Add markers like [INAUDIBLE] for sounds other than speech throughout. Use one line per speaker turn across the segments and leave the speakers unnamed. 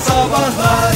Sabahlar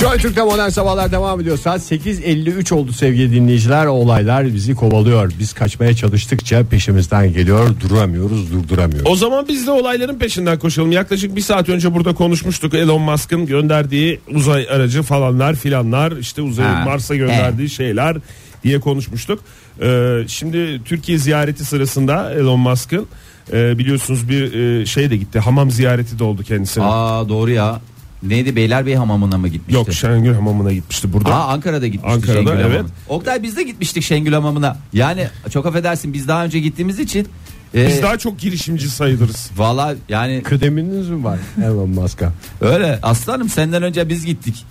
Joy Türk'te modern sabahlar devam ediyor. Saat 8.53 oldu sevgili dinleyiciler. Olaylar bizi kovalıyor. Biz kaçmaya çalıştıkça peşimizden geliyor. Duramıyoruz, durduramıyoruz.
O zaman biz de olayların peşinden koşalım. Yaklaşık bir saat önce burada konuşmuştuk. Elon Musk'ın gönderdiği uzay aracı falanlar filanlar işte uzay
Ha,
Mars'a gönderdiği şeyler diye konuşmuştuk. Ee, şimdi Türkiye ziyareti sırasında Elon Musk'ın e, biliyorsunuz bir e, şey de gitti. Hamam ziyareti de oldu kendisine.
Aa doğru ya. Neydi Beylerbeyi hamamına mı gitmişti?
Yok Şengül hamamına gitmişti burada.
Aa Ankara'da gitmiştik
Ankara'da,
Şengül
evet.
Hamamı'na. Oktay biz de gitmiştik Şengül Hamamı'na. Yani çok affedersin biz daha önce gittiğimiz için e,
Biz daha çok girişimci sayılırız.
Valla yani
Kıdeminiz mi var Elon Musk'a?
öyle aslanım senden önce biz gittik.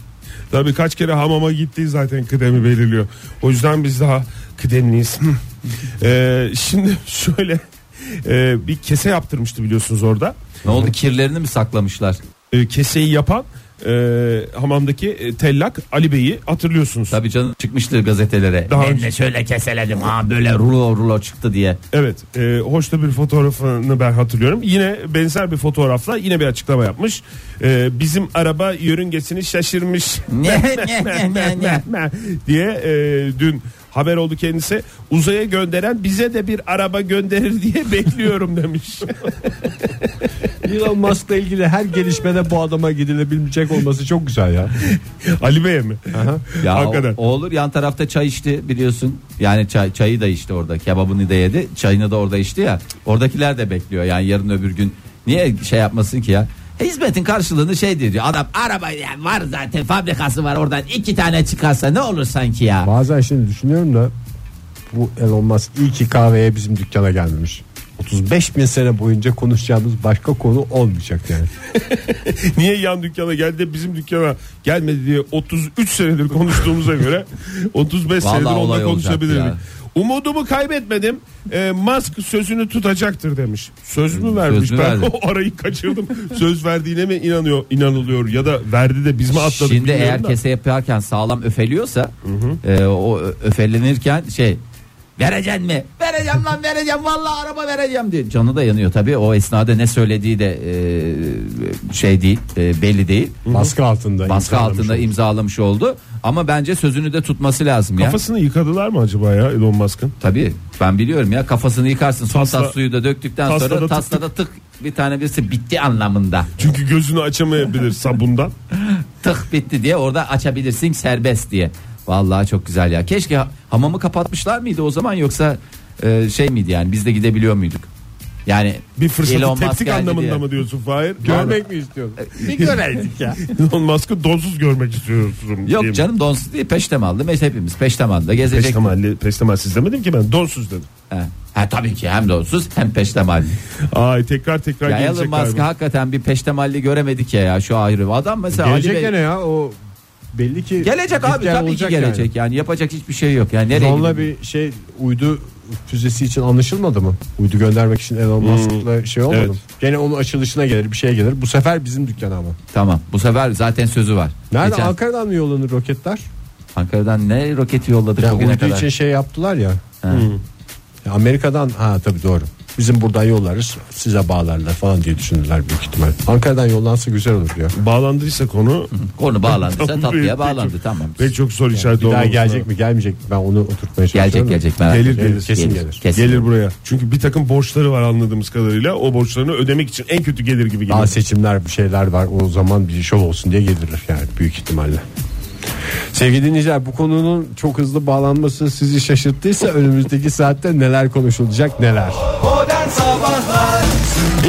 Tabii kaç kere hamama gittiği zaten kıdemi belirliyor. O yüzden biz daha kıdemliyiz. [LAUGHS] Ee, şimdi şöyle e, bir kese yaptırmıştı biliyorsunuz orada.
Ne oldu kirlerini mi saklamışlar?
E, keseyi yapan e, hamamdaki e, tellak Ali Bey'i hatırlıyorsunuz.
Tabii canım çıkmıştır gazetelere.
Daha
ben
önce-
de şöyle keseledim ha böyle rulo rulo çıktı diye.
Evet, e, hoş da bir fotoğrafını ben hatırlıyorum. Yine benzer bir fotoğrafla yine bir açıklama yapmış. E, bizim araba yörüngesini şaşırmış.
Ne, ne, ne, ne, ne.
diye e, dün haber oldu kendisi. Uzaya gönderen bize de bir araba gönderir diye [LAUGHS] bekliyorum demiş. [LAUGHS]
Elon Musk'la ilgili her gelişmede bu adama gidilebilecek olması çok güzel ya.
Ali Bey'e mi?
Ya
[LAUGHS] Hakikaten.
o- o olur yan tarafta çay içti biliyorsun. Yani çay, çayı da içti orada kebabını da yedi çayını da orada içti ya. Oradakiler de bekliyor yani yarın öbür gün. Niye şey yapmasın ki ya? E, Hizmetin karşılığını şey diyor adam araba yani var zaten fabrikası var oradan iki tane çıkarsa ne olur sanki ya.
Bazen şimdi düşünüyorum da bu Elon Musk iyi ki kahveye bizim dükkana gelmemiş. 35 bin sene boyunca konuşacağımız başka konu olmayacak yani.
Niye yan dükkana geldi de bizim dükkana gelmedi diye 33 senedir konuştuğumuza
[LAUGHS]
göre 35
Vallahi
senedir
olay
onunla
olacaktı
konuşabilirim.
ya.
Umudumu kaybetmedim. E, Musk sözünü tutacaktır demiş. Söz mü vermiş?
mü
ben
verdi?
[LAUGHS] o arayı kaçırdım. Söz verdiğine mi inanıyor, inanılıyor ya da verdi de biz mi
Şimdi
atladık? bilmiyorum
eğer
da.
kese yaparken sağlam öfeliyorsa e, o ö- öfelenirken şey vereceksin mi? Vereceğim lan vereceğim vallahi araba vereceğim diyor. Canı da yanıyor tabii o esnada ne söylediği de e, şey değil e, belli değil.
Baskı altında. şey
Baskı
imzalamış
altında
oldu.
imzalamış oldu ama bence sözünü de tutması lazım ya.
Kafasını yıkadılar mı acaba ya Elon Musk'ın?
Tabii ben biliyorum ya kafasını yıkarsın son
Tasla-
tas suyu da döktükten
taslada
sonra
tık
taslada tık bir tane birisi bitti anlamında.
Çünkü gözünü açamayabilir sabundan.
tık bitti diye orada açabilirsin serbest diye. Vallahi çok güzel ya. Keşke ha- hamamı kapatmışlar mıydı o zaman yoksa e, şey miydi yani biz de gidebiliyor muyduk? Yani
Bir fırsatı
Elon Musk
teptik
geldi
anlamında
diye. E,
mı diyorsun Fahir?
Görmek mi istiyorsun?
Bir göreydik ya.
[LAUGHS] Elon Musk'ı donsuz görmek istiyorsun.
Yok
diyeyim.
canım donsuz değil peştemallı. Meş hepimiz peştemalda gezecek.
Peştemalli, peştemalsiz demedim ki ben donsuz dedim.
Ha. ha, tabii ki hem donsuz hem peştemalli.
Ay tekrar tekrar
ya Elon
gelecek
Musk
galiba.
hakikaten bir peştemalli göremedik ya, ya şu ayrı. Adam mesela Ali
Gelecek
Bey-
gene ya o belli ki
Gelecek abi
gitgen
tabii ki
olacak
gelecek yani. yapacak hiçbir şey yok yani nereye
Yani. Onunla
gidip-
bir şey uydu füzesi için anlaşılmadı mı? Uydu göndermek için Elon Musk'la şey olmadı
evet.
mı? Gene onun açılışına gelir bir şey gelir. Bu sefer bizim dükkana ama.
Tamam bu sefer zaten sözü var.
Nerede
Geçen-
Ankara'dan mı yollanır roketler?
Ankara'dan ne roketi yolladık
Yani
bugüne
uydu
kadar.
için şey yaptılar ya.
Ha.
Ya Amerika'dan ha tabii doğru. Bizim buradan yollarız size bağlarlar falan diye düşündüler büyük ihtimal. Ankara'dan yollansa güzel olur ya.
Bağlandıysa konu
Konu bağlandıysa
[LAUGHS] Tamam,
tatlıya
peki.
bağlandı tamam.
pek çok soru işareti
Bir daha
olmaması
gelecek
lazım.
mi gelmeyecek mi ben onu oturtmaya
Gelecek
çalışıyorum.
gelecek merak
Gelir
etme.
gelir.
Kesin gelir.
Kesin.
Gelir buraya. Çünkü bir takım borçları var anladığımız kadarıyla. O borçlarını ödemek için en kötü gelir gibi
Daha
geliyor.
seçimler bir şeyler var o zaman bir şov olsun diye gelirler yani büyük ihtimalle. Sevgili dinleyiciler bu konunun çok hızlı bağlanması sizi şaşırttıysa [LAUGHS] önümüzdeki saatte neler konuşulacak neler.
Modern Sabahlar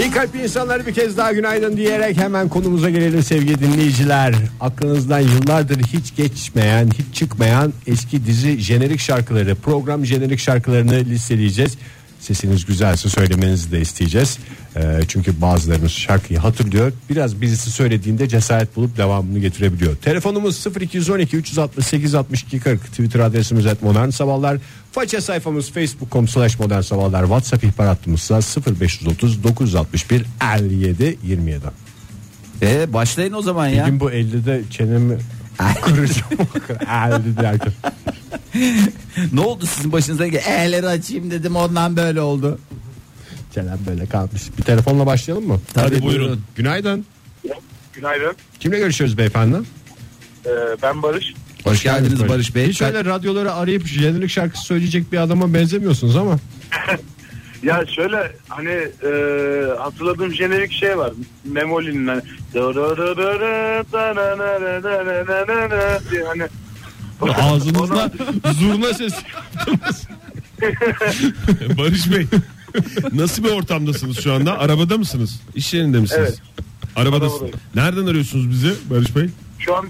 İyi kalpli insanları bir kez daha günaydın diyerek hemen konumuza gelelim sevgili dinleyiciler. Aklınızdan yıllardır hiç geçmeyen, hiç çıkmayan eski dizi jenerik şarkıları, program jenerik şarkılarını listeleyeceğiz. Sesiniz güzelse söylemenizi de isteyeceğiz. Ee, çünkü bazılarımız şarkıyı hatırlıyor. Biraz birisi söylediğinde cesaret bulup devamını getirebiliyor. Telefonumuz 0212 368 62 40. Twitter adresimiz et modern sabahlar. Faça sayfamız facebook.com slash modern sabahlar. Whatsapp ihbar hattımızsa 0530 961 57 27.
Ee, başlayın o zaman ya.
Bugün bu 50'de çenemi kıracağım.
[LAUGHS]
50 derken.
ne oldu sizin başınıza? Eğleri açayım dedim ondan böyle oldu.
Çenem böyle kalmış. Bir telefonla başlayalım mı?
Tabii, buyurun.
Günaydın.
Günaydın.
Kimle görüşüyoruz beyefendi?
Ee, ben Barış.
Hoş geldiniz Barış Bey.
Hiç öyle radyoları arayıp jenerik şarkısı söyleyecek bir adama benzemiyorsunuz ama.
Ya şöyle hani e, hatırladığım jenerik şey var. Memoli'nin hani. Dırırırırı, dananananananana diye hani
Ağzınızla
Zurna ses. [LAUGHS] Barış Bey. Nasıl bir ortamdasınız şu anda? Arabada mısınız? İş yerinde misiniz?
Evet.
Arabadasınız.
Arabadayım.
Nereden arıyorsunuz bizi Barış Bey?
şu an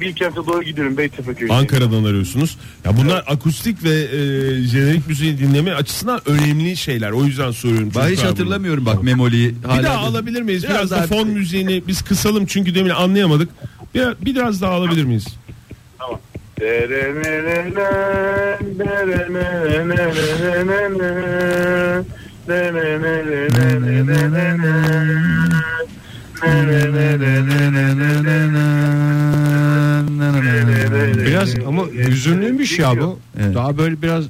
Bilkent'e doğru gidiyorum Beytepe köyüne.
Ankara'dan arıyorsunuz. Ya bunlar akustik ve e, jenerik müziği dinleme açısından önemli şeyler. O yüzden
Ben
soruyorum.
hiç
çocuklar bunu.
hatırlamıyorum bak Memoli'yi.
Bir daha alabilir miyiz? Biraz,
Biraz
da
daha-
fon müziğini biz kısalım çünkü demin anlayamadık. Bir, biraz daha alabilir miyiz?
Tamam.
biraz ama hüzünlüymüş ya bu.
Evet.
Daha böyle biraz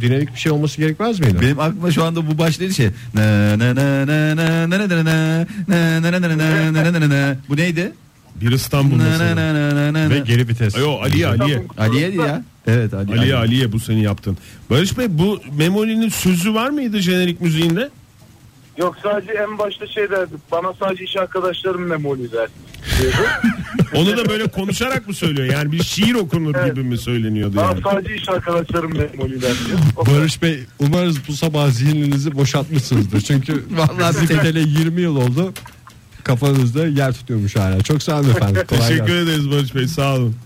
dinamik bir şey olması gerekmez miydi?
Benim aklıma şu anda bu başladı şey. Na, na, na, na, na, na, na, na, na, na, na, na, na, na, na, na, na, na. Bu neydi?
Bir İstanbul
Na, na,
mesela.
na, na, na, na.
Ve geri vites.
Ayo Aliye Aliye.
Aliye'di ya. Evet Ali.
Aliye Aliye bu seni yaptın. Barış Bey bu Memoli'nin sözü var mıydı jenerik müziğinde?
Yok sadece en başta şey derdi. Bana sadece iş arkadaşlarım memoli derdi.
Onu da böyle konuşarak mı söylüyor? Yani bir şiir okunur gibi mi söyleniyordu
Bana
yani?
sadece iş arkadaşlarım memoli derdi. O kadar.
Barış Bey umarız bu sabah zihninizi boşaltmışsınızdır. Çünkü
Vallahi
[LAUGHS] vallahi tele 20 yıl oldu. Kafanızda yer tutuyormuş hala. Çok sağ olun efendim. Kolay
Teşekkür
gelsin.
ederiz Barış Bey sağ olun.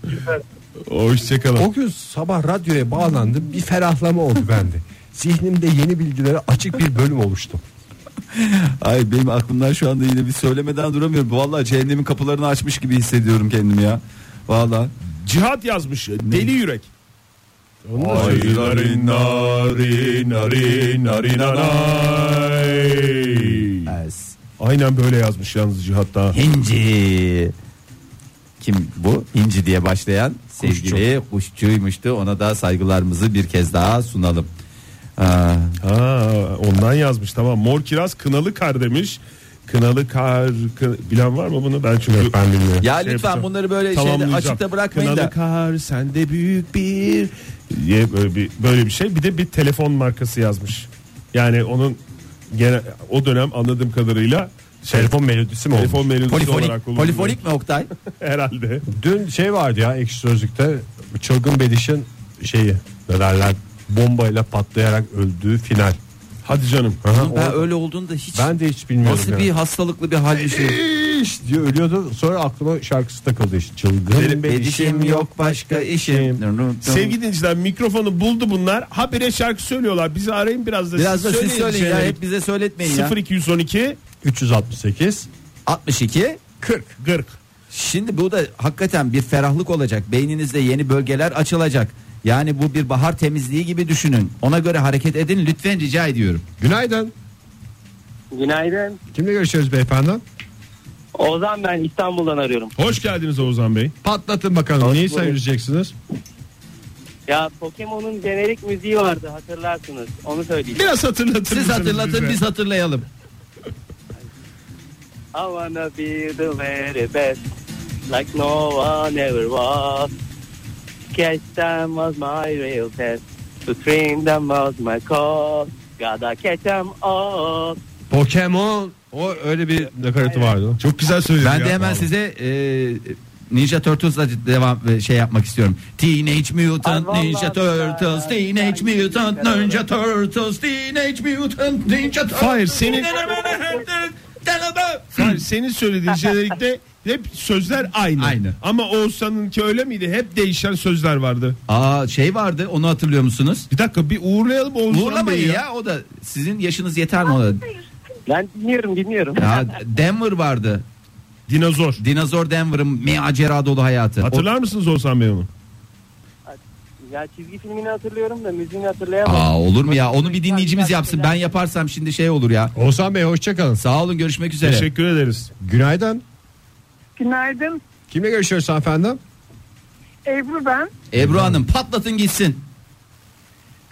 Hoşçakalın.
O gün sabah radyoya bağlandım. Bir ferahlama oldu bende. Zihnimde yeni bilgilere açık bir bölüm oluştu.
Ay benim aklımdan şu anda yine bir söylemeden duramıyorum. Vallahi cehennemin kapılarını açmış gibi hissediyorum kendimi ya. Vallahi.
Cihat yazmış Deli Yürek.
Ay, narin, Es.
Aynen böyle yazmış yalnız Cihat daha.
Hinci. Kim bu? Hinci diye başlayan sevgili kuşçuymuştu. Ona da saygılarımızı bir kez daha sunalım. Ee, Aa,
Ha, ondan yazmış tamam. Mor kiraz kınalı kar demiş. Kınalı kar kı- bilen var mı bunu? Ben çünkü ben bilmiyorum.
Ya lütfen bunları böyle şeyde açıkta bırakmayın
kınalı
da.
kar sende büyük bir diye böyle bir böyle bir şey. Bir de bir telefon markası yazmış. Yani onun gene o dönem anladığım kadarıyla şey,
Telefon melodisi mi
telefon melodisi olarak
polifonik,
kullanılıyor.
polifonik mi Oktay?
herhalde.
Dün şey vardı ya ekşi sözlükte çılgın bedişin şeyi ne derler bombayla patlayarak öldüğü final.
Hadi canım.
ben öyle olduğunu da hiç
Ben de hiç bilmiyorum.
nasıl
yani.
bir hastalıklı bir hal bir şey.
İş diye ölüyordu. Sonra aklıma şarkısı takıldı işte. Çılgın
Bedişim yok başka işim.
Sevgili dinleyiciler mikrofonu buldu bunlar. Habire şarkı söylüyorlar. Bizi arayın biraz da
Biraz da
siz
siz söyleyin ya
şeyleri.
hep bize söyletmeyin ya.
0212
368
62
40 40.
Şimdi bu da hakikaten bir ferahlık olacak. Beyninizde yeni bölgeler açılacak. Yani bu bir bahar temizliği gibi düşünün. Ona göre hareket edin lütfen rica ediyorum.
Günaydın.
Günaydın.
Kimle görüşüyoruz beyefendi?
Ozan ben İstanbul'dan arıyorum.
Hoş geldiniz Oğuzhan Bey.
Patlatın bakalım. Neyi söyleyeceksiniz?
Ya Pokemon'un jenerik müziği vardı hatırlarsınız. Onu söyleyeceğim.
Biraz hatırlatın.
Siz hatırlatın biz hatırlayalım.
I wanna be the very best. Like no one ever was. Catch them was my real test. To train them was my call. Gotta catch them all.
Pokemon. O öyle bir nakaratı vardı.
Çok güzel söyledin.
Ben de hemen size e, Ninja Turtles'la devam e, şey yapmak istiyorum. Teenage Mutant
Ay vallahi
Ninja Turtles,
ben-
Teenage
ben-
Mutant
ben-
Ninja Turtles, Teenage Mutant Ninja Turtles.
Hayır, senin- Hayır, senin söylediğin şeylerlikte hep sözler aynı.
Aynı.
Ama Oğuzhan'ınki öyle miydi? Hep değişen sözler vardı.
Aa şey vardı onu hatırlıyor musunuz?
Bir dakika bir uğurlayalım Oğuzhan Bey'i
Uğurlamayın ya o da sizin yaşınız yeter mi ona?
Ben dinliyorum dinliyorum.
Ya Denver vardı.
Dinozor.
Dinozor Denver'ın macera dolu hayatı.
Hatırlar mısınız Oğuzhan Bey onu?
Ya çizgi filmini hatırlıyorum da müziğini
O-
hatırlayamadım.
Aa olur mu ya? Onu bir dinleyicimiz yapsın. Ben yaparsam şimdi şey olur ya.
Oğuzhan Bey hoşçakalın.
Sağ olun görüşmek üzere.
Teşekkür ederiz.
Günaydın.
Günaydın.
Kimle görüşüyoruz hanımefendi?
Ebru ben.
Ebru Hanım patlatın gitsin.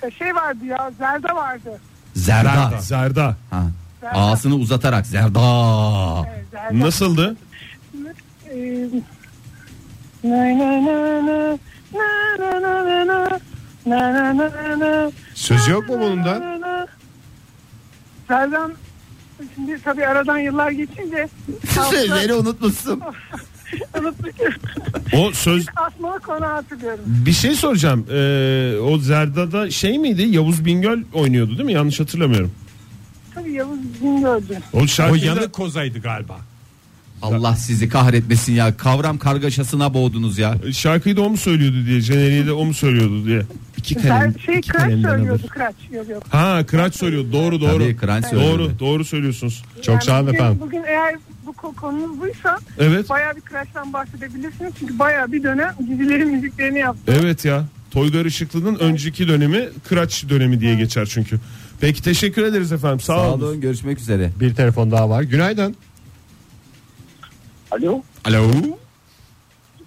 Ee, Şey vardı ya Zelda vardı.
Zerda.
Zerda.
Ha.
Zerda.
Ağasını uzatarak Zerda.
Ee, E, Zelda.
Nasıldı?
e, na na na na, na na na na na, na na na na,
Söz yok mu bunun
na
da?
na na. Serdar şimdi tabii aradan yıllar geçince
Sözleri unutmuşsun.
unuttuk.
O söz
Asmalı konağı hatırlıyorum.
bir şey soracağım. Ee, o Zerda'da şey miydi? Yavuz Bingöl oynuyordu değil mi? Yanlış hatırlamıyorum.
Tabii Yavuz Bingöl'dü.
O
O
şarkıyı da-
yanık kozaydı galiba.
Allah sizi kahretmesin ya. Kavram kargaşasına boğdunuz ya.
Ee, şarkıyı da o mu söylüyordu diye. Jeneriği de o mu söylüyordu diye. İki
Her şey kıraç
kalemden
söylüyordu
alır.
kıraç. Yok yok.
Ha Kıraç söylüyor. Doğru doğru.
Tabii, Kıraç söylüyordu.
doğru doğru söylüyorsunuz.
Çok sağ olun
bugün,
efendim.
Bugün eğer bu ko- konunuz buysa
Evet.
bayağı bir kıraçtan bahsedebilirsiniz. Çünkü bayağı bir dönem dizilerin müziklerini yaptı.
Evet ya. Toygar Işıklı'nın önceki dönemi Kıraç dönemi diye geçer çünkü. Peki teşekkür ederiz efendim. Sağ,
Sağ
olun.
olun görüşmek üzere.
Bir telefon daha var. Günaydın.
Alo.
Alo.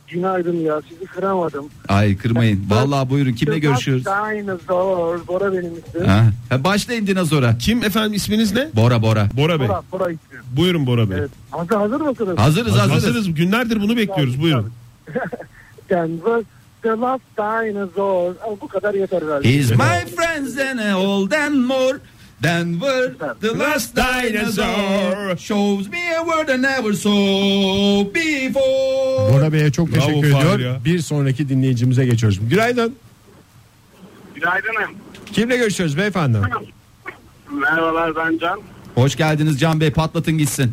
Günaydın ya sizi kıramadım.
Ay kırmayın. Vallahi buyurun kimle görüşüyoruz?
Aynı zor. Bora benim ismim.
Ha? Ha, başlayın dinozora.
Kim efendim isminiz ne?
Bora Bora.
Bora Bey.
Bora, Bora ismim.
Buyurun Bora Bey.
Evet. Hazır, hazır mısınız?
Hazırız hazırız.
Hazırız. Günlerdir bunu bekliyoruz. Buyurun.
Denver, The Last Dinosaur. Ama bu kadar yeter herhalde.
He's my friends and old and more. Denver, the last dinosaur shows me a world I never saw before.
Bora Bey'e çok
Bravo,
teşekkür
Fahir
ediyorum.
ya.
Bir sonraki dinleyicimize geçiyoruz. Günaydın.
Günaydınım.
Kimle görüşüyoruz beyefendi?
Merhabalar ben Can.
Hoş geldiniz Can Bey patlatın gitsin.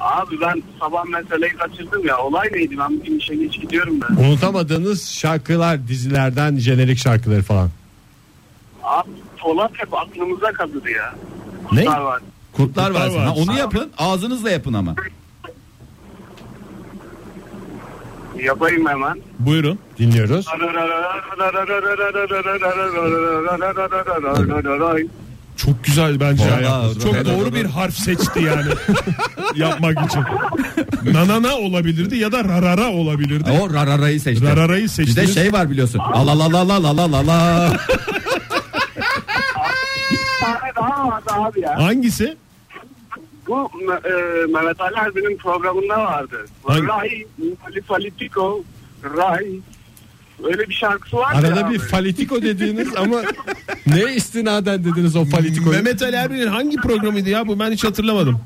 Abi ben sabah meseleyi kaçırdım ya. Olay neydi? Ben bugün işe geç gidiyorum da.
Unutamadığınız şarkılar dizilerden jenerik şarkıları falan.
Abi Polat hep aklımıza kazıdı ya.
Ne?
Kurtlar var.
Kurtlar var.
Kurtlar var.
Ha, onu yapın ağzınızla yapın ama.
Yapayım hemen.
Buyurun.
Dinliyoruz.
Çok güzel bence.
Vallahi
ya.
doğru.
Çok
Doğru,
doğru
doğru.
bir harf
[LAUGHS]
seçti yani. Yapmak için. Nanana olabilirdi ya da rarara olabilirdi.
O rararayı seçti.
Rararayı
Bir de
seçtiniz.
şey var biliyorsun. La la la la la la la la.
tane daha vardı abi ya.
Hangisi?
Bu e, Mehmet Ali Erbil'in programında vardı.
Hangi?
Ray, Ali Politico, Ray. Öyle bir şarkısı vardı ya
Arada bir
abi.
falitiko dediğiniz ama ne istinaden dediniz o falitikoyu?
[LAUGHS] Mehmet Ali Erbil'in hangi programıydı ya bu ben hiç hatırlamadım.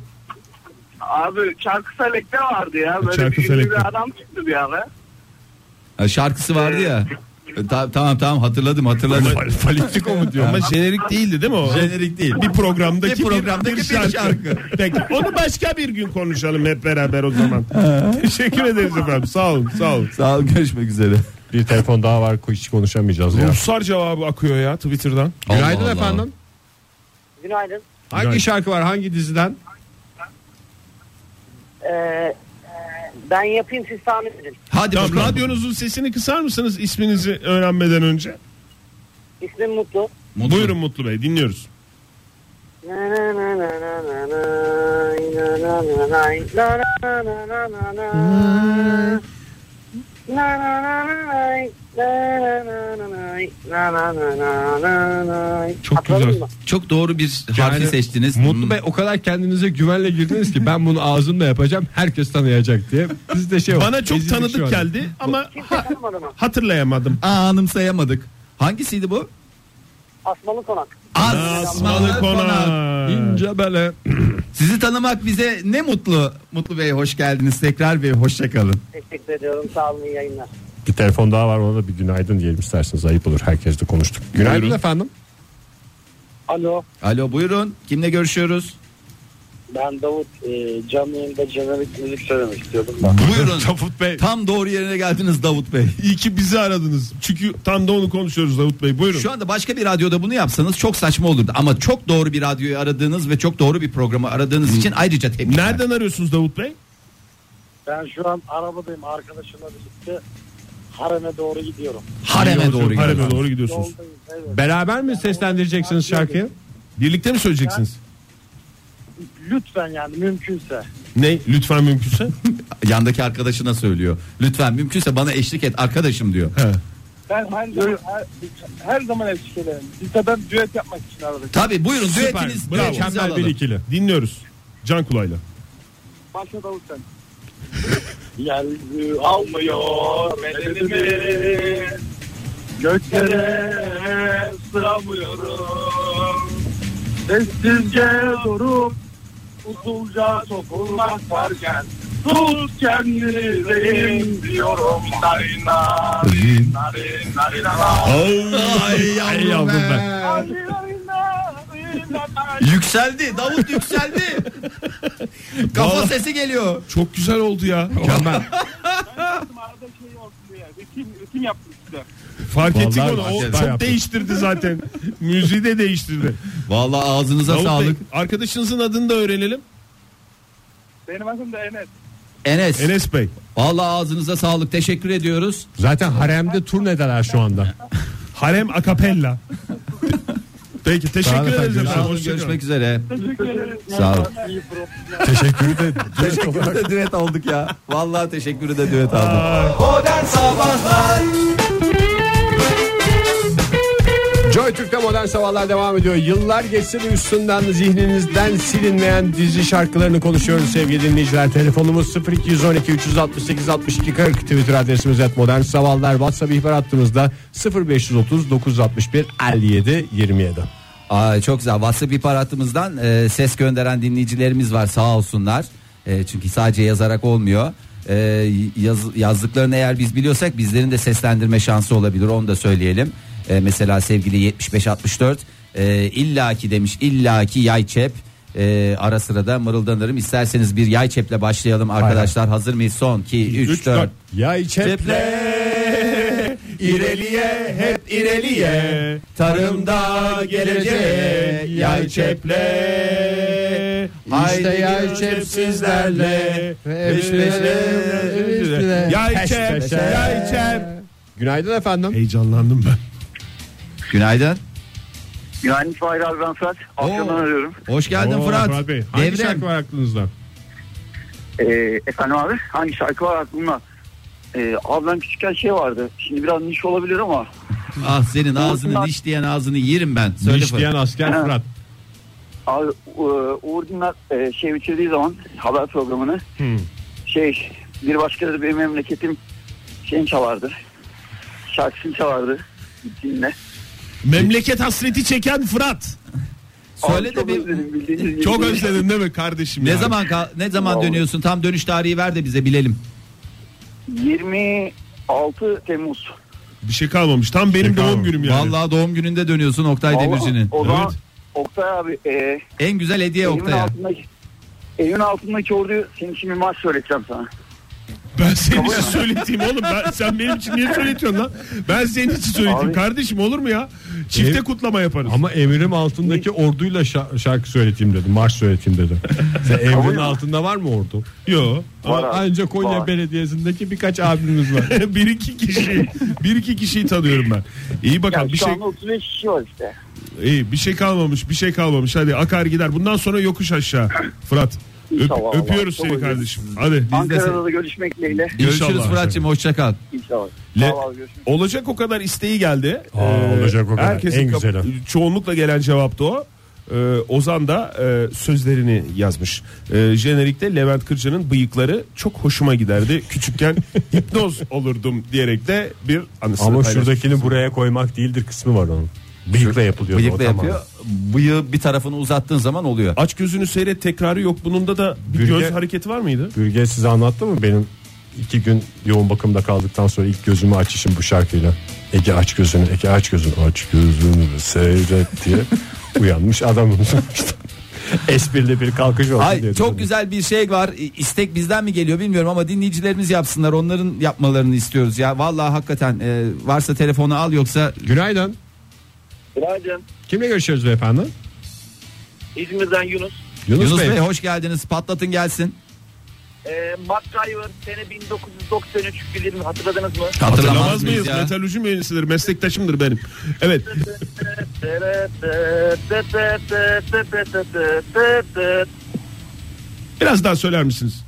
Abi Çarkı Selek'te vardı ya. Böyle
Çarkı
bir ünlü
Selek'te.
bir adam çıktı bir ara.
Ha, Şarkısı vardı ya. Ta- tamam tamam hatırladım hatırladım.
Fal- Falitiko mu diyor? Ama jenerik değildi değil mi o?
Jenerik değil.
Bir programdaki,
Bir programdaki bir şarkı.
Peki onu başka bir gün konuşalım hep beraber o zaman. Teşekkür ederiz efendim. Sağ olun, sağ olun.
Sağ ol görüşmek üzere.
Bir telefon daha var hiç konuşamayacağız ya.
Ruhsar cevabı akıyor ya Twitter'dan.
Günaydın
Allah Allah.
efendim.
Günaydın.
Hangi
Günaydın.
şarkı var hangi diziden?
Ee, ben yapayım siz tahmin edin.
Hadi
Tamam,
bakalım.
radyonuzun sesini kısar mısınız isminizi öğrenmeden önce?
İsmim Mutlu.
Mutlu.
Buyurun Mutlu Bey dinliyoruz.
Na na na na na na nay, na na na nay, na na na na na na. Na na na na nay, na na na na nay, na na na na na nay.
Çok
Atladın
güzel.
mı?
Çok doğru bir harfi seçtiniz.
Mutlu
Hmm.
Bey o kadar kendinize güvenle girdiniz ki ben bunu ağzımla yapacağım herkes tanıyacak diye. Biz de şey yok,
Bana çok
ezildik şu
tanıdık
an.
geldi ama
Kimse tanımadı mı?
hatırlayamadım.
Aa, anımsayamadık. Hangisiydi bu?
Asmalı konak.
Asmalı Konak.
İnce bele.
Sizi tanımak bize ne mutlu. Mutlu Bey hoş geldiniz tekrar ve hoşça kalın.
Teşekkür ediyorum. Sağ olun iyi yayınlar.
Bir telefon daha var ona da bir günaydın diyelim isterseniz ayıp olur herkesle konuştuk. Günaydın
Buyurun.
efendim.
Alo
Alo buyurun. Kimle görüşüyoruz?
ben Davut.
e,
Ee, canlı yayında jenerik müzik söylemek istiyordum da.
Buyurun.
Davut Bey.
Tam doğru yerine geldiniz Davut Bey.
İyi ki bizi aradınız. Çünkü tam da onu konuşuyoruz Davut Bey. Buyurun.
Şu anda başka bir radyoda bunu yapsanız çok saçma olurdu. Ama çok doğru bir radyoyu aradığınız ve çok doğru bir programı aradığınız için ayrıca tebrikler.
Nereden arıyorsunuz Davut Bey?
Ben şu an arabadayım arkadaşımla birlikte. Harem'e doğru gidiyorum.
Hareme doğru
Hareme
gidiyoruz.
doğru gidiyorsunuz.
Yoldayım evet.
Beraber mi seslendireceksiniz şarkıyı?
Birlikte mi söyleyeceksiniz?
Lütfen yani mümkünse.
Ne? Lütfen mümkünse.
Yandaki arkadaşına söylüyor. Lütfen mümkünse bana eşlik et arkadaşım diyor.
Ben her zaman, her, her zaman eşlik ederim. Biz de ben düet yapmak için aradık.
Tabi buyurun
Süper,
düetiniz,
bravo.
düetinizi
Mükemmel bir
alalım.
ikili. Dinliyoruz. Can kulağıyla.
Başla Davut sen. Yer almıyor bedenimi Göklere sığamıyorum Sessizce durup Usulca sokulmak varken Tut kendini zeyim diyorum Narina Narina Narina
Ay yavrum ben.
Yükseldi. Davut
[LAUGHS]
yükseldi. Kafa
Vallahi-
sesi geliyor.
Çok güzel
[LAUGHS]
oldu ya.
Ritim yaptım size
Fark ettik
Vallahi
onu. O
hakikaten
çok
yaptı.
değiştirdi zaten. Müziği de değiştirdi.
Vallahi ağzınıza
Davut Bey,
sağlık.
arkadaşınızın adını da öğrenelim.
Benim adım da Enes
Enes.
Enes Bey.
Vallahi ağzınıza sağlık. Teşekkür ediyoruz.
Zaten haremde turnedeler şu anda.
Harem Akapella. Peki teşekkür
olun
ederiz
efendim,
efendim.
Sağ olun.
Hoşça kalın.
Görüşmek üzere.
Teşekkür ederim
Sağ olun.
Teşekkür de direkt olarak-
Teşekkür de düet aldık ya. Vallahi teşekkürü de düet aldık.
Modern Sabahlar
Joy Türk'te modern sabahlar devam ediyor. Yıllar geçse de üstünden zihninizden silinmeyen dizi şarkılarını konuşuyoruz sevgili dinleyiciler. Telefonumuz 0212 368 62 40 Twitter adresimiz et modern sabahlar. WhatsApp ihbar hattımızda 0530 961 57 27.
Aa, çok güzel. WhatsApp ihbar hattımızdan e, ses gönderen dinleyicilerimiz var sağ olsunlar. E, çünkü sadece yazarak olmuyor. E, yaz- yazdıklarını eğer biz biliyorsak bizlerin de seslendirme şansı olabilir onu da söyleyelim. E, mesela sevgili 7564 e, illaki demiş illaki yay çep. E, ara sıra da mırıldanırım. İsterseniz bir yay çeple başlayalım arkadaşlar. Hazır mıyız? Son 2 3
üç,
4
dört.
Yay çeple
İreliye hep ireliye Tarımda geleceğe yay çeple
İşte yay çep sizlerle. Peş peşe.
Yay
Peş
çep,
peşe.
yay çep.
Günaydın efendim.
Heyecanlandım ben.
Günaydın
Yani Fahir abi ben Fırat Afyon'dan
Oo.
arıyorum
Hoş geldin
Oo,
Fırat,
Bey. Hangi
Devrem
şarkı var aklınızda?
Ee, efendim abi hangi şarkı var aklımda? Ee, abi ben küçükken şey vardı. Şimdi biraz niş olabilir ama.
Ah senin ağzını
Bunlar-
niş diyen ağzını yerim ben Söyle
Niş
Fırat.
diyen asker
Ha.
Fırat.
Abi e, Uğur Dinler e, şey bitirdiği zaman haber programını
Hmm.
şey bir başkaları benim memleketim şeyini çalardı. Şarkısını çalardı. Dinle.
Memleket hasreti çeken Fırat.
Söyle
Abi
de
çok
bir
özledim, bildiğiniz gibi.
Çok özledin değil mi kardeşim?
ne
ya?
zaman kal- ne zaman
Vallahi.
dönüyorsun? Tam dönüş tarihi ver de bize bilelim.
26 Temmuz.
Bir şey kalmamış. Tam benim
Şey
doğum
kalmamış.
günüm yani.
Vallahi doğum gününde dönüyorsun Oktay
Vallahi
Demirci'nin.
O zaman
Evet.
Oktay abi e,
En güzel hediye
evimin
Oktay'a.
altındaki evimin altındaki orduyu senin için bir maç söyleyeceğim sana.
Ben senin için söyleteyim oğlum. Ben, sen benim için niye söyletiyorsun lan? Ben senin için söyleteyim.
Abi.
Kardeşim olur mu ya? Çifte
Ev-
kutlama yaparız.
Ama emirim altındaki orduyla şa- şarkı söyleteyim dedi. Marş söyleteyim dedi. Sen emrin
ya.
altında var mı ordu?
Yo.
Var
Ama
abi,
ancak Konya
var.
Belediyesi'ndeki birkaç abimiz var.
[LAUGHS] bir iki kişi bir iki kişiyi tanıyorum ben. İyi
Ya
bakalım bir
şu
şey
anda 35 kişi var işte.
iyi bir şey kalmamış bir şey kalmamış hadi akar gider bundan sonra yokuş aşağı Fırat. Öp-
İnşallah.
öpüyoruz
Çok
seni
özledim.
kardeşim. Hadi.
Ankara'da da görüşmek dileğiyle.
Görüşürüz
İnşallah.
Fırat'cığım hoşça kal.
İnşallah.
Le-
Sağ ol abi, görüşmek
Olacak o kadar isteği geldi. Ee,
Aa, olacak o kadar.
Herkesin
En
kap-
güzeli.
Çoğunlukla gelen cevaptı o. Ee, Ozan da e, sözlerini yazmış. Ee, jenerikte Levent Kırca'nın bıyıkları çok
[LAUGHS]
hoşuma giderdi. Küçükken hipnoz olurdum diyerek de bir anısını
Ama
paylaşmış.
şuradakini buraya koymak değildir kısmı var onun. Bıyıkla yapılıyor.
Bıyıkla yapıyor. Bıyığı bir tarafını uzattığın zaman oluyor.
Aç gözünü seyret tekrarı yok. Bununda da bir
Bürge-
göz hareketi var mıydı?
Bürge size anlattı mı benim iki gün yoğun bakımda kaldıktan sonra ilk gözümü açışım bu şarkıyla. Ege aç gözünü, Ege aç gözünü, aç gözünü seyret
[LAUGHS]
diye uyanmış adamım sonuçta. Esprili bir kalkış oldu
Ay
diye
çok
düşündüm.
güzel bir şey var. İ- İstek bizden mi geliyor bilmiyorum ama dinleyicilerimiz yapsınlar. Onların yapmalarını istiyoruz ya. Vallahi hakikaten e, varsa telefonu al yoksa
Günaydın.
üzere. Günaydın.
Kimle görüşüyoruz beyefendi?
İzmir'den Yunus.
Yunus,
Yunus
Bey.
Bey hoş geldiniz. Patlatın gelsin.
Ee, MacGyver sene 1993 bilirim hatırladınız mı?
Hatırlamaz mıyız? Metalurji mühendisidir, meslektaşımdır benim. Evet. Biraz daha söyler misiniz?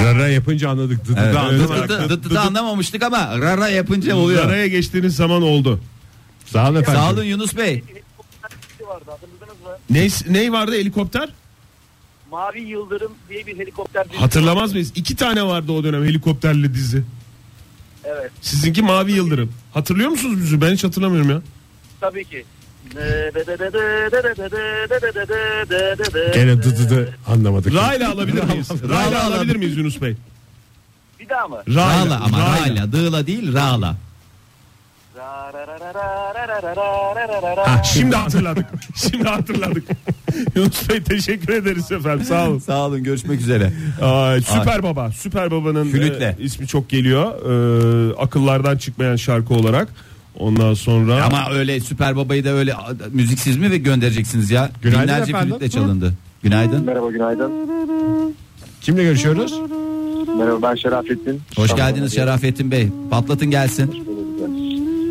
Rara yapınca anladık. Dı dı
Evet.
dı anladık.
Dıt dıt dıt dıt anlamamıştık ama rara yapınca oluyor.
Araya geçtiğiniz zaman oldu.
Sağ olun efendim.
Sağ olun Yunus Bey.
şarkı vardı hatırladınız mı?
Ne, ney vardı helikopter?
Mavi Yıldırım diye bir helikopter dizisi
Hatırlamaz mıyız? İki tane vardı o dönem helikopterli dizi.
Evet
Sizinki Mavi Yıldırım. Hatırlıyor musunuz bizi? Ben hiç hatırlamıyorum ya.
tabii ki. Ee, Gene
Gene dı dı dı anlamadık.
Rayla alabilir miyiz? Rayla
Rayla
alabilir
alalım.
miyiz Yunus Bey?
Bir daha mı?
Rağla, ama Ra'la. Dığla değil Ra'la.
Ha,
Şimdi hatırladık. Şimdi hatırladık. [LAUGHS] Yunus Bey teşekkür ederiz efendim. Sağ olun.
Sağ olun görüşmek üzere.
Ay, Süper Baba. Süper Baba'nın
Flütle.
e, ismi çok geliyor. E, akıllardan çıkmayan şarkı olarak. Ondan sonra
Ama öyle Süper Baba'yı da öyle a- müziksiz mi ve göndereceksiniz ya?
Günaydın
Binlerce
efendim.
flütle çalındı. Günaydın.
Merhaba günaydın.
Kimle görüşüyoruz?
Merhaba ben Şerafettin.
Hoş geldiniz Şerafettin Bey. Patlatın gelsin.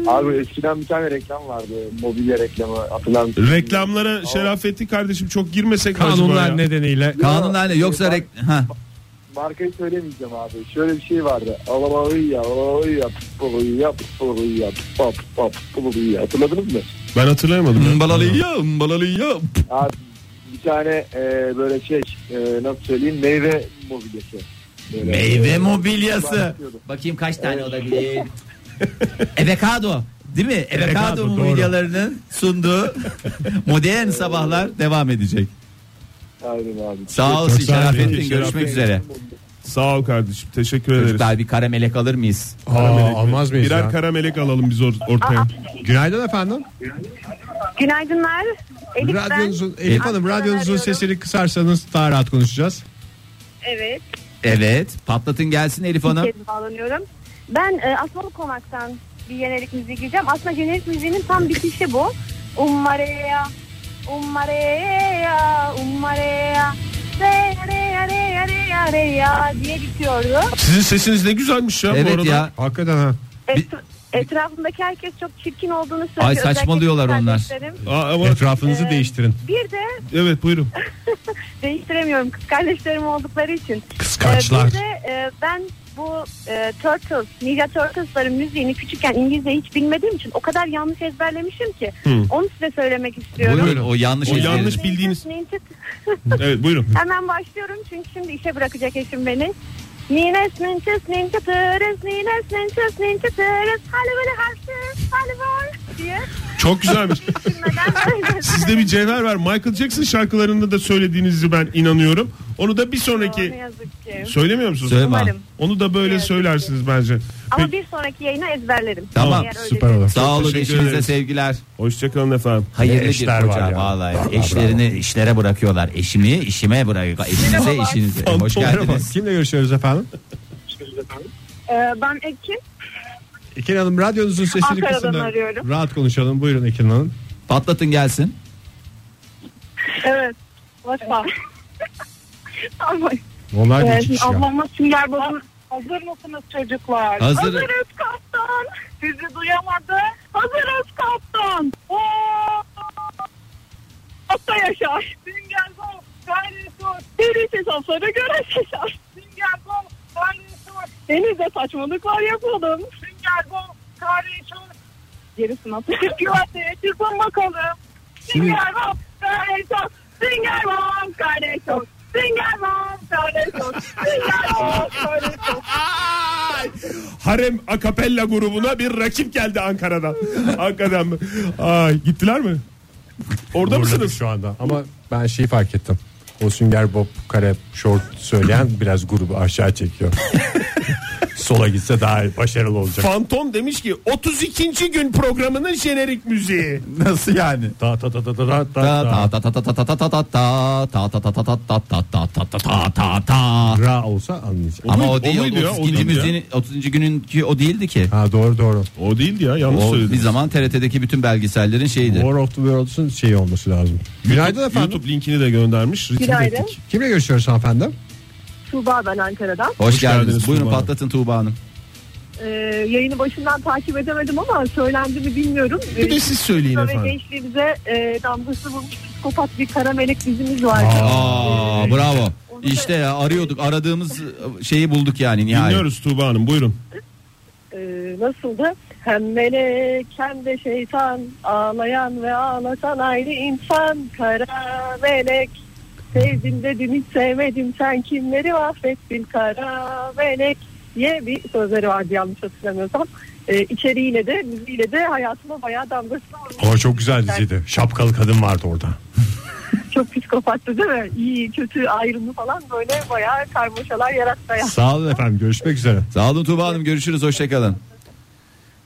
Abi eskiden bir tane reklam vardı. Mobilya reklamı hatırlar mısın?
reklamlara Şerafettin kardeşim çok girmesek mi acaba ya?
Kanunlar nedeniyle.
Kanunlarla yoksa rek... Ha.
Markayı söylemeyeceğim abi. Şöyle bir şey vardı. Alabalıyı alabalıyı pulabalıyı pulabalıyı pop pop pulabalıyı hatırladınız mı?
Ben hatırlayamadım. ya.
Mbalalıya mbalalıya.
Abi bir tane e, böyle şey e, nasıl söyleyeyim meyve mobilyası. Böyle-
Meyve mobilyası.
Başlıyordu.
Bakayım kaç tane olabilir. Evekado. Değil mi? Evekado mobilyalarının sunduğu modern sabahlar devam edecek.
Aynen abi.
Sağ ol
Çok sağ olun.
Şerafettin.
Şerafettin.
Görüşmek üzere.
Sağ ol kardeşim. Teşekkür ederiz.
Çocuklar bir karamelek alır mıyız?
Aa, almaz mıyız
Birer
ya?
karamelek alalım biz or- ortaya.
Günaydın efendim.
Günaydınlar. Elif ben.
Radyonuzun, Elif Hanım
Ankara'dan
radyonuzun
arıyorum.
sesini kısarsanız daha rahat konuşacağız.
Evet.
Evet. Patlatın gelsin Elif Hanım.
kez bağlanıyorum. Ben e, Asmalı Konak'tan bir jenerik müziği gireceğim. Aslında jenerik müziğinin tam bitişi bu. Ummareya, ummareya, ummareya, reya reya reya reya reya diye bitiyordu.
Sizin sesiniz ne güzelmiş ya bu
Evet
arada.
ya.
Hakikaten ha.
Et, etrafımdaki herkes çok çirkin olduğunu söylüyor.
Ay, saçmalıyorlar
Özellikle
onlar.
kız kardeşlerim.
Aa, ama-
Etrafınızı değiştirin.
Bir de
evet buyurun.
değiştiremiyorum kız kardeşlerim oldukları için.
Kıskançlar.
Ee, bir de, e, ben bu e, Turtles, Ninja Turtles'ların müziğini küçükken İngilizce hiç bilmediğim için o kadar yanlış ezberlemişim ki. Onu size söylemek istiyorum.
Buyurun. O yanlış
O
ezberi.
yanlış bildiğiniz. Evet buyurun.
Hemen başlıyorum çünkü şimdi işe bırakacak eşim beni. Nines ninçes ninçe tırız, nines ninçes ninçe tırız, hali böyle harçız, hali var diye.
Çok güzelmiş.
Bilmeden böyle
Sizde bir cevher var. Michael Jackson şarkılarında da söylediğinizi ben inanıyorum. Onu da bir
Ne
sonraki
yazık ki.
söylemiyor musunuz?
Söyleme.
Umarım.
Onu da böyle söylersiniz bence.
Ama
Peki,
bir sonraki yayına ezberlerim.
Tamam,
öyle
Süper olur.
Sağ olun
Teşekkür
eşinize
ederiz.
sevgiler.
Hoşçakalın efendim.
Hayırlı bir
eşler
koca
var ya.
vallahi. Eşlerini işlere bırakıyorlar. Eşimi işime bırakıyor. Eşinize işinize. Hoş geldiniz.
Kimle görüşüyoruz efendim?
Ee, ben Ekin.
Ekin Hanım radyonuzun sesini
Ankara'dan
kısın. da
arıyorum.
Rahat konuşalım. Buyurun Ekin Hanım.
Patlatın gelsin.
Evet. Başka. Ama
Onlar
Evet,
geçiş ya.
ablama sünger babam. Hazır mısınız çocuklar?
Hazır.
Hazırız kaptan. Sizi duyamadı. Hazırız kaptan. Oo! Hatta yaşar. Sünger bol. Gayri su. Deniz hesapları göre yaşar. Sünger bol. Gayri su. Denizde saçmalıklar yapalım. Sünger bol. Gayri su. Gerisini atacağım. Güverte. Çıkın bakalım. Sünger bol. Gayri su. Sünger bol. Gayri su. Sünger bol. Gayri su. Sünger bol. Gayri su.
Harem Akapella grubuna bir rakip geldi Ankara'dan. Ankara'dan mı? Ay, gittiler mi? Orada
Zorladık
mısınız?
şu anda? Ama ben şeyi fark ettim. O sünger bob kare short söyleyen biraz grubu aşağı çekiyor. Sola gitse daha başarılı olacak.
Fantom demiş ki 32. gün programının jenerik müziği.
Nasıl yani?
Ta ta ta ta ta ta ta.
Ta ta ta ta ta ta ta ta ta ta ta ta ta ta ta ta ta ta ta ta ta ta ta
Ra olsa anlayacak.
ama o
muydu-
değil
o muydu ya? O
32.
değil ya.
müziğin 30. gününki o değildi ki.
Ha doğru doğru.
O değildi ya yanlış
O bir
söyledim.
zaman TRT'deki bütün belgesellerin şeyiydi.
War of the Worlds'un şeyi olması lazım. Günaydın efendim.
YouTube linkini de göndermiş. Ritim
Günaydın.
Teknik.
Kimle görüşüyoruz hanımefendi?
Tuğba ben Ankara'dan.
Hoş
Hoş geldiniz
geldiniz. Buyurun
Tuğba Hanım.
patlatın Tuğba Hanım.
Ee, yayını başından takip edemedim ama söylendi mi bilmiyorum.
Bir de siz söyleyin
Çocukluğumuzda ve
efendim.
gençliğimize e, damgası vurmuş psikopat bir karamelek dizimiz vardı.
Aa bravo.
Onu da-
İşte ya arıyorduk aradığımız şeyi bulduk yani nihayet.
Dinliyoruz Tuğba Hanım buyurun.
E, nasıldı? Ee, Hem melek hem de şeytan Ağlayan ve ağlatan ayrı insan Kara melek Sevdim dedim hiç sevmedim Sen kimleri affettin kara melek diye bir sözleri vardı yanlış hatırlamıyorsam. Ee, içeriğiyle de müziğiyle de hayatıma bayağı damgasını vurmuş.
O çok güzel diziydi. Şapkalı kadın vardı orada.
Çok psikopattı değil mi? İyi kötü ayrımı falan böyle bayağı karmaşalar yarattı. hayatımda.
Sağ olun efendim. Görüşmek üzere.
Sağ olun Tuğba Hanım görüşürüz hoşçakalın.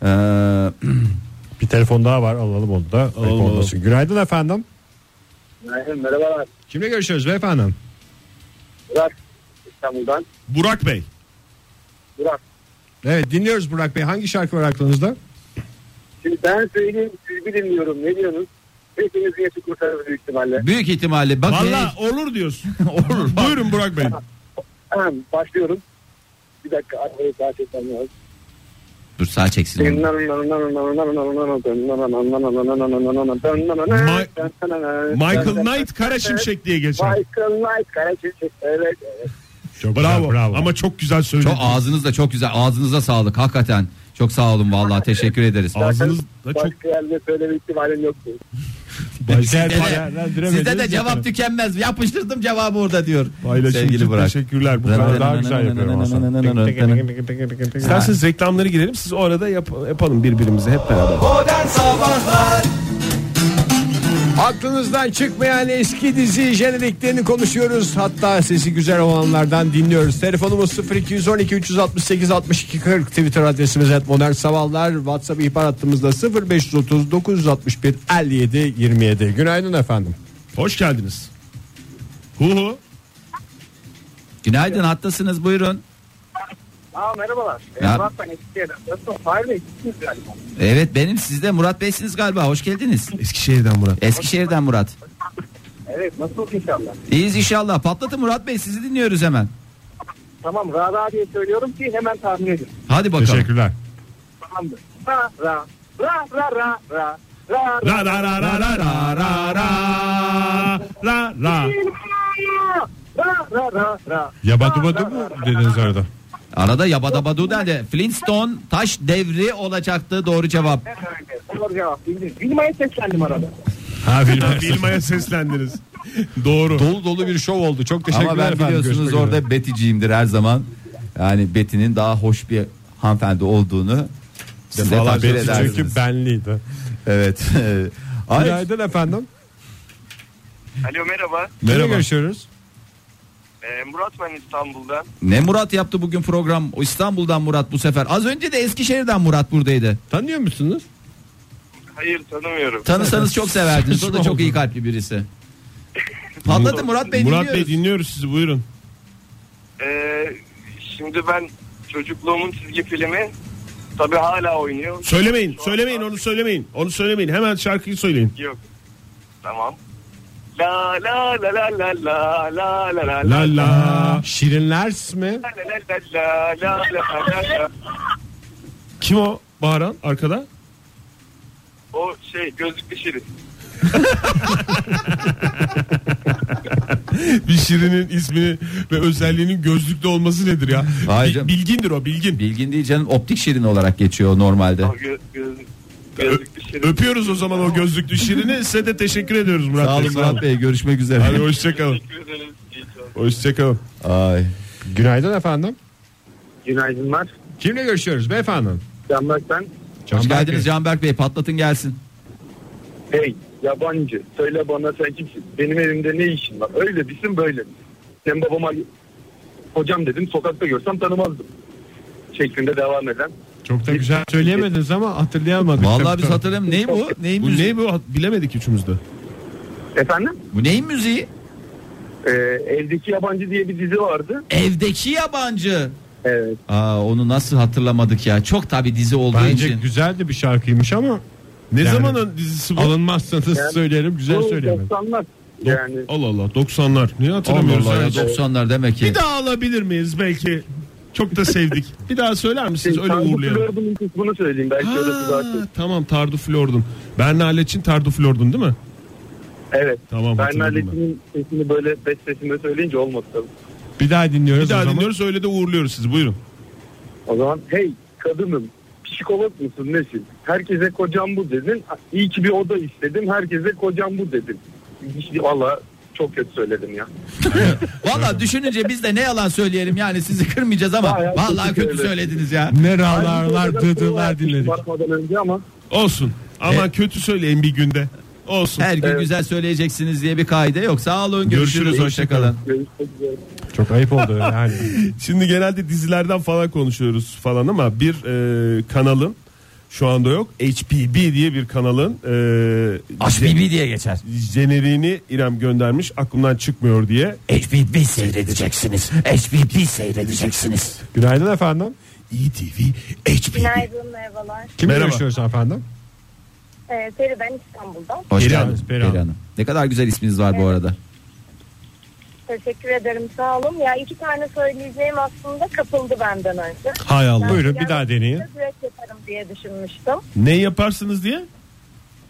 Ee,
Bir telefon daha var. Alalım onu da. Belki
alalım.
olmasın. Günaydın efendim.
Merhabalar.
Kimle görüşüyoruz beyefendi?
Burak İstanbul'dan.
Burak Bey.
Burak.
Evet dinliyoruz Burak Bey. Hangi şarkı var aklınızda?
Şimdi ben söyleyeyim sizi dinliyorum. Ne diyorsunuz? Hepimiz yaşı kurtarırız büyük ihtimalle.
büyük ihtimalle bak
Valla olur diyorsun. olur. Buyurun Burak Bey.
Ahem, başlıyorum. Bir dakika arabayı saat etmem lazım.
dur sağ çeksin. onu.
Michael Knight Kara Şimşek diye geçer.
Michael Knight Karaçiçek. Evet. evet.
Çok
Bravo. Ama çok güzel
Çok
söyledin.
ağzınız da çok güzel. Ağzınıza sağlık hakikaten. Çok sağ olun vallahi teşekkür ederiz.
Ağzınız da çok
Başka yerde söyleme ihtimalim yoktu.
Başka
Sizde de-
değerlendiremediniz
Sizde de
ya.
cevap tükenmez. Yapıştırdım cevabı orada diyor.
paylaşım için
Sevgili Burak.
teşekkürler. Bu kadar daha güzel şey yapıyorum aslında. İsterseniz reklamları girelim. Siz o arada yap- yapalım birbirimizi hep beraber.
Modern Sabahlar
Aklınızdan çıkmayan eski dizi jeneriklerini konuşuyoruz. Hatta sesi güzel olanlardan dinliyoruz. Telefonumuz 0212 368 62 40 Twitter adresimiz et modern sabahlar. WhatsApp ihbar hattımızda 0530 961 57 27. Günaydın efendim.
Hoş geldiniz. Hu hu.
Günaydın hattasınız buyurun.
Aa merhabalar.
Ya.
Ee, Murat ben Eskişehir'den. Nasılsın? Fahir Bey siz galiba.
Evet benim sizde Murat Bey'siniz galiba hoş geldiniz.
Eskişehir'den Murat.
Eskişehir'den Murat.
Evet nasılsın inşallah?
İyiyiz inşallah. Patlatın Murat Bey sizi dinliyoruz hemen.
Tamam ra ra diye söylüyorum ki hemen tahmin edin.
Hadi bakalım.
Teşekkürler.
Tamamdır. Ra ra ra ra ra ra
Ra ra
ra ra
ra ra ra ra ra ra ra ra.
ra ra ra ra
Yabadubadu mu dediniz arada?
Arada yabadabadu de Flintstone taş devri olacaktı doğru cevap.
Evet, Doğru cevap bildiniz. Bilmeye seslendim arada.
Ha,
Bilmaya seslendiniz. Doğru.
dolu dolu bir şov oldu. Çok teşekkürler
Ama ben
efendim.
biliyorsunuz
Görüşmek üzere.
orada beticiyimdir her zaman. Yani Betty'nin daha hoş bir hanımefendi olduğunu size
Vallahi
takdir
benim
edersiniz.
çünkü benliydi.
Evet. [LAUGHS] Ay,
Günaydın efendim.
Alo merhaba. E,
Merhaba. görüşüyoruz?
Murat ben İstanbul'dan.
ne Murat yaptı bugün program? O İstanbul'dan Murat bu sefer. Az önce de Eskişehir'den Murat buradaydı.
Tanıyor musunuz?
Hayır tanımıyorum.
Tanısanız çok severdiniz. O da çok iyi kalpli birisi. Patladı Murat Bey
Murat Bey
dinliyoruz.
dinliyoruz sizi buyurun.
Ee, şimdi ben çocukluğumun çizgi filmi tabi hala oynuyor.
Söylemeyin
Şu an-
söylemeyin onu söylemeyin. Onu söylemeyin hemen şarkıyı söyleyin.
Yok. Tamam. La la la la la la la la la
La la.
Şirinlers mi?
la la la la la la la la.
Kim o bağıran arkada?
O şey gözlüklü şirin.
Bir şirinin ismini ve özelliğinin gözlükte olması nedir ya?
Hayır
Bi-
canım.
bilgindir o bilgin.
Bilgin değil canım optik şirin olarak geçiyor normalde.
O gö- göz- gözlüklü şirin.
Öpüyoruz o zaman o gözlüklü şirini. Size de teşekkür ediyoruz Murat
Sağ
Bey.
olun Murat Bey görüşmek üzere.
Hadi hoşçakalın.
Teşekkür ederiz. İyi çalışmalar.
Hoşçakalın.
Ay.
Günaydın efendim.
Günaydınlar.
Kimle görüşüyoruz beyefendi?
Canberk ben.
Hoş
Canberk
geldiniz
Bey.
Canberk Bey patlatın gelsin.
Hey yabancı söyle bana sen kimsin? Benim evimde ne işin var? Öyle misin böyle misin? Sen babama hocam dedim sokakta görsem tanımazdım. Şeklinde devam eden.
Çok da güzel söyleyemediniz ama hatırlayamadık.
Vallahi biz hatırlayalım. Ney bu? Neyin
Bu
müziği?
ne bu? Bilemedik üçümüz de.
Efendim?
Bu neyin müziği?
Ee, Evdeki Yabancı diye bir dizi vardı.
Evdeki yabancı.
Evet.
Aa, onu nasıl hatırlamadık ya? Çok tabi dizi olduğu
Bence
için.
güzel de bir şarkıymış ama
Ne
Yani-
zamanın dizisi bu?
alınmazsanız söylerim güzel
Bu
söyleyemedim.
90'lar.
Dok-
Yani
Allah Allah 90'lar. Niye hatırlamıyoruz?
Allah
ya?
ya 90'lar demek ki.
Bir daha alabilir miyiz belki? Çok da sevdik. Bir daha söyler misiniz? Öyle
Tanrı
uğurlayalım.
Flördün'ün kısmını söyleyeyim. Belki orası daha çok.
Ha, tamam Tardu Flordun. Berna Aleç'in Tardu Flordun değil mi?
Evet.
Tamam,
ben
hatırladım ben.
Nalettin'in sesini böyle best sesimle söyleyince olmadı tabii.
Bir daha dinliyoruz
Bir daha
o zaman.
dinliyoruz öyle de uğurluyoruz sizi. Buyurun.
O zaman hey kadınım psikolog musun nesin? Herkese kocam bu dedin. İyi ki bir oda istedim. Herkese kocam bu dedin. İşte Valla çok kötü söyledim ya.
Valla düşününce biz de ne yalan söyleyelim yani sizi kırmayacağız ama
Bayağı
vallahi
kötü
kötü
söyledim.
söylediniz ya.
Ne ralarlar
Bu arada
dıdılar
yapmışım
dinledik.
Bakmadan önce ama
Olsun. Ama kötü söyleyin bir günde. Olsun.
Her gün
Evet.
güzel söyleyeceksiniz diye bir kaide yok. Sağ olun görüşürüz,
Görüşürüz,
hoşçakalın.
görüşmek üzere.
Çok ayıp oldu [LAUGHS] yani.
Şimdi genelde dizilerden falan konuşuyoruz falan ama bir e, kanalın şu anda yok. HPB diye bir kanalın e,
HBB diye geçer.
jeneriğini İrem göndermiş aklımdan çıkmıyor diye.
HBB seyredeceksiniz. HBB seyredeceksiniz.
Günaydın efendim.
ETV HPB.
Günaydın merhabalar.
Kimle
Merhaba.
görüşüyoruz efendim?
Ee, Peri ben İstanbul'dan.
Hoş
Peri
geldiniz
Hanım,
Peri
Peri
Hanım.
Hanım.
Ne kadar güzel isminiz var bu arada.
Teşekkür ederim sağ olun. Ya iki tane söyleyeceğim aslında kapıldı benden önce.
Hay Allah.
Ben
Buyurun
biraz
bir daha deneyin.
Biraz yaparım diye düşünmüştüm.
Ne yaparsınız diye?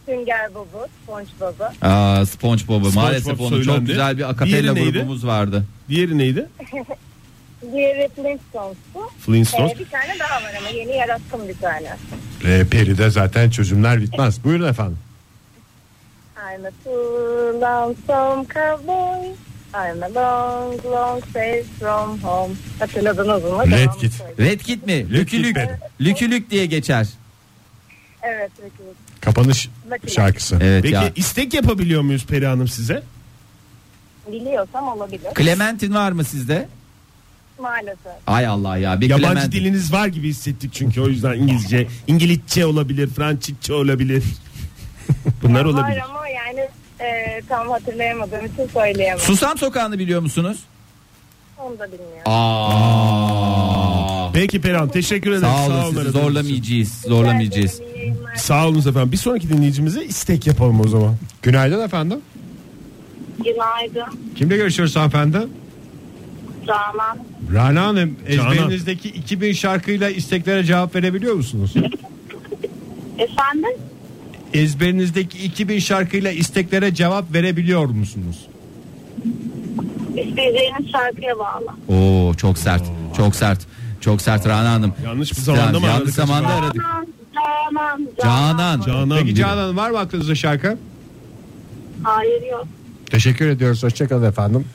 Sünger Bob'u, Sponge Bob'u.
Aa, SpongeBob'u maalesef onun
söylendi.
çok güzel bir akapella
Diğeri neydi?
grubumuz vardı.
Diğeri neydi?
Diğeri Flintstones'u.
Flintstones.
Ee, bir tane daha var ama yeni yarattım bir tane.
Ee,
E, Peri'de zaten çözümler bitmez. Buyurun efendim.
I'm a too lonesome cowboy. I'm a long long way from home. Hatırladınız mı?
Red
Devamını
Kit.
söyleyeyim.
Redkit mi? Lükülük.
Peri.
Lükülük diye geçer.
Evet Red Kit.
Kapanış
Bakın.
şarkısı.
Evet
Peki
ya.
istek yapabiliyor muyuz Peri Hanım size?
Biliyorsam olabilir.
Clementine var mı sizde?
Maalesef.
Ay Allah ya. Bir
Yabancı
Clementine.
diliniz var gibi hissettik çünkü o yüzden İngilizce, İngilizce olabilir, Fransızca
[LAUGHS]
olabilir. Bunlar
Ya
olabilir.
Var ama yani e, tam hatırlayamadığım için söyleyemem.
Susam sokağını biliyor musunuz?
Onu da bilmiyorum.
Aa.
Peki Peri Hanım teşekkür ederim.
Sağ olun
aradığınız
sizi
için.
zorlamayacağız. Zorlamayacağız.
Güzel, iyi yayınlar.
Sağ olun efendim. Bir sonraki dinleyicimize istek yapalım o zaman.
Günaydın efendim.
Günaydın.
Kimle görüşüyoruz hanımefendi?
Canan.
Rana Hanım
Canan.
ezberinizdeki 2000 şarkıyla isteklere cevap verebiliyor musunuz?
Efendim?
Ezberinizdeki 2000 şarkıyla isteklere cevap verebiliyor musunuz?
İsteyeceğiniz şarkıya bağlı.
Oo çok sert. Çok sert. Çok sert Rana Hanım.
Yanlış bir zamanda mı
Yanlış
aradık
zamanda
acaba?
aradık.
Canan, Canan,
Canan.
Canan
Peki
biri.
Canan Hanım, var mı aklınızda şarkı?
Hayır yok.
Teşekkür ediyoruz. Hoşçakalın efendim.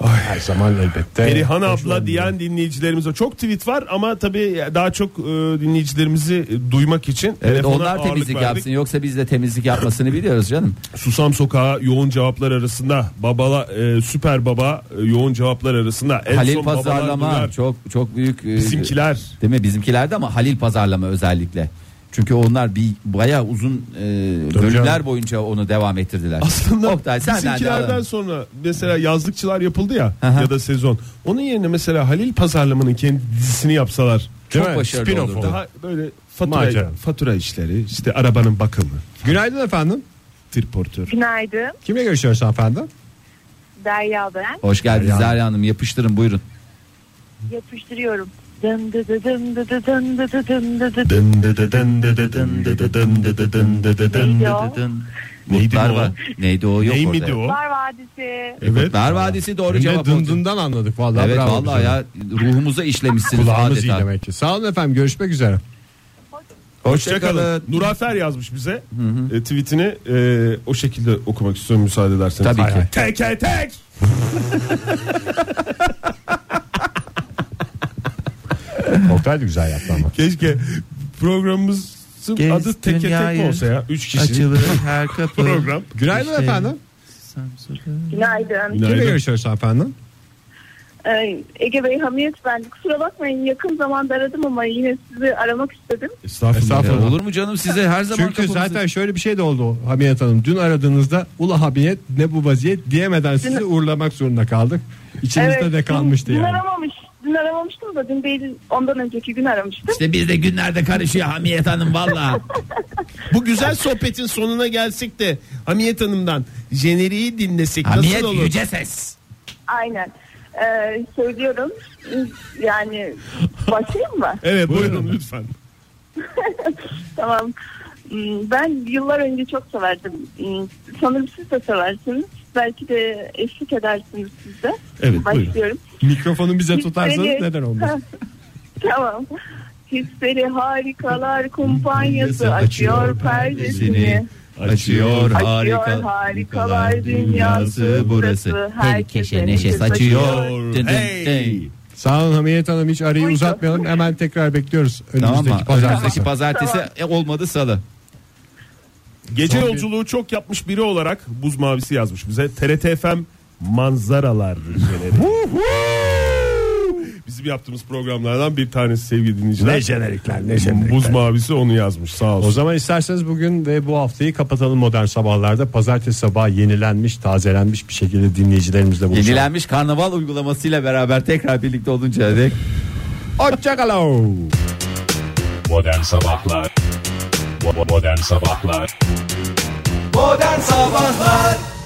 Ay, her zaman elbette.
Perihan abla diyen dinleyicilerimize çok tweet var ama tabii daha çok e, dinleyicilerimizi e, duymak için
Evet
telefona
onlar
ağırlık
temizlik
verdik.
yapsın yoksa biz de temizlik yapmasını biliyoruz canım.
Susam sokağa yoğun cevaplar arasında babala e, süper baba e, yoğun cevaplar arasında en
Halil
son babalar
pazarlama
duyar.
çok çok büyük e,
bizimkiler
değil mi? Bizimkilerde ama Halil pazarlama özellikle. Çünkü onlar bir bayağı uzun e, bölümler
canım.
boyunca onu devam ettirdiler.
aslında
Oktay, senden de
bizimkilerden
alalım.
sonra mesela yazlıkçılar yapıldı ya
Aha.
ya da sezon onun yerine mesela Halil pazarlamanın kendi dizisini yapsalar
çok
mi?
başarılı
Spin-off
olurdu.
olur.
daha böyle fatura
Macera.
fatura işleri işte arabanın bakımı
Günaydın efendim.
triportör
Günaydın.
Kimle görüşüyoruz hanımefendi?
Derya ben.
Hoş geldiniz
Derya Hanım.
Derya Hanım yapıştırın buyurun.
Yapıştırıyorum. Dın dı dı dın dı dı dın dı dı dın dı dı. Neydi o?
Neydi
Mutlar
o?
var. Neydi o yok
Ney
orada.
miydi o?
Var Vadisi.
Evet.
Dar Vadisi doğru
Hem de
cevap oldu.
dındından anladık vallahi.
Evet
bravo
vallahi
bize.
ya ruhumuza işlemişsiniz
Kulağımız iyi
adeta.
demek ki. Sağ olun efendim görüşmek üzere.
Hoşçakalın. Nurafer yazmış bize E, tweetini e, o şekilde okumak istiyorum müsaade ederseniz.
Tabii ki.
Teke tek.
Oktay da güzel yaptı ama.
Keşke programımızın
Gez
adı teke
dünyayı.
tek olsa ya. Üç kişi
Açılır her kapı.
program.
Günaydın
İşte-
efendim.
Samsun'da.
Günaydın.
Kimle
Günaydın.
görüşüyoruz hanımefendi?
Ee, Ege Bey Hamiyet ben. Kusura bakmayın yakın zamanda aradım ama yine sizi aramak istedim.
Ya
Estağfurullah.
olur mu canım size her zaman
Çünkü
kapımızı-
zaten şöyle bir şey de oldu Hamiyet Hanım. Dün aradığınızda ula Hamiyet ne bu vaziyet diyemeden sizi uğurlamak zorunda kaldık. İçimizde de kalmıştı
dün, dün
yani.
aramamış. Dün aramamıştım da dün değil ondan önceki gün aramıştım.
İşte biz de günlerde karışıyor Hamiyet Hanım valla.
Bu güzel sohbetin sonuna gelsek de Hamiyet Hanım'dan jeneriği dinlesek
Hamiyet
nasıl olur?
yüce ses.
Aynen. Ee, söylüyorum. Yani başlayayım mı?
Evet buyurun lütfen.
Tamam. Hmm, Ben yıllar önce çok severdim. Hmm, Sanırım siz de seversiniz. Belki de eşlik edersiniz siz de.
Evet, buyurun.
Başlıyorum.
Mikrofonu bize
Hiç [LAUGHS]
tutarsanız
beni-
neden olmaz.
tamam. hisleri harikalar kumpanyası açıyor perdesini.
Açıyor
Açıyor harikalar dünyası burası. Herkese neşe saçıyor.
Dın dın dın.
Sağ olun Hamiyet Hanım hiç arayı uzatmayalım hemen tekrar bekliyoruz
Tamam
önümüzdeki
mı?
pazartesi.
Önümüzdeki pazartesi
Tamam.
e, olmadı salı.
Gece
Son bir-
yolculuğu çok yapmış biri olarak buz mavisi yazmış bize. TRT FM manzaralar jeneriği. Bizim yaptığımız programlardan bir tanesi sevgili dinleyiciler.
Ne jenerikler ne jenerikler.
Buz mavisi onu yazmış sağ olsun.
O zaman isterseniz bugün ve bu haftayı kapatalım modern sabahlarda. Pazartesi sabahı yenilenmiş, tazelenmiş bir şekilde dinleyicilerimizle buluşalım.
Yenilenmiş karnaval uygulamasıyla beraber tekrar birlikte olunca dek
Hoşçakalın.
Modern Sabahlar Bo- Modern Sabahlar
Modern Sabahlar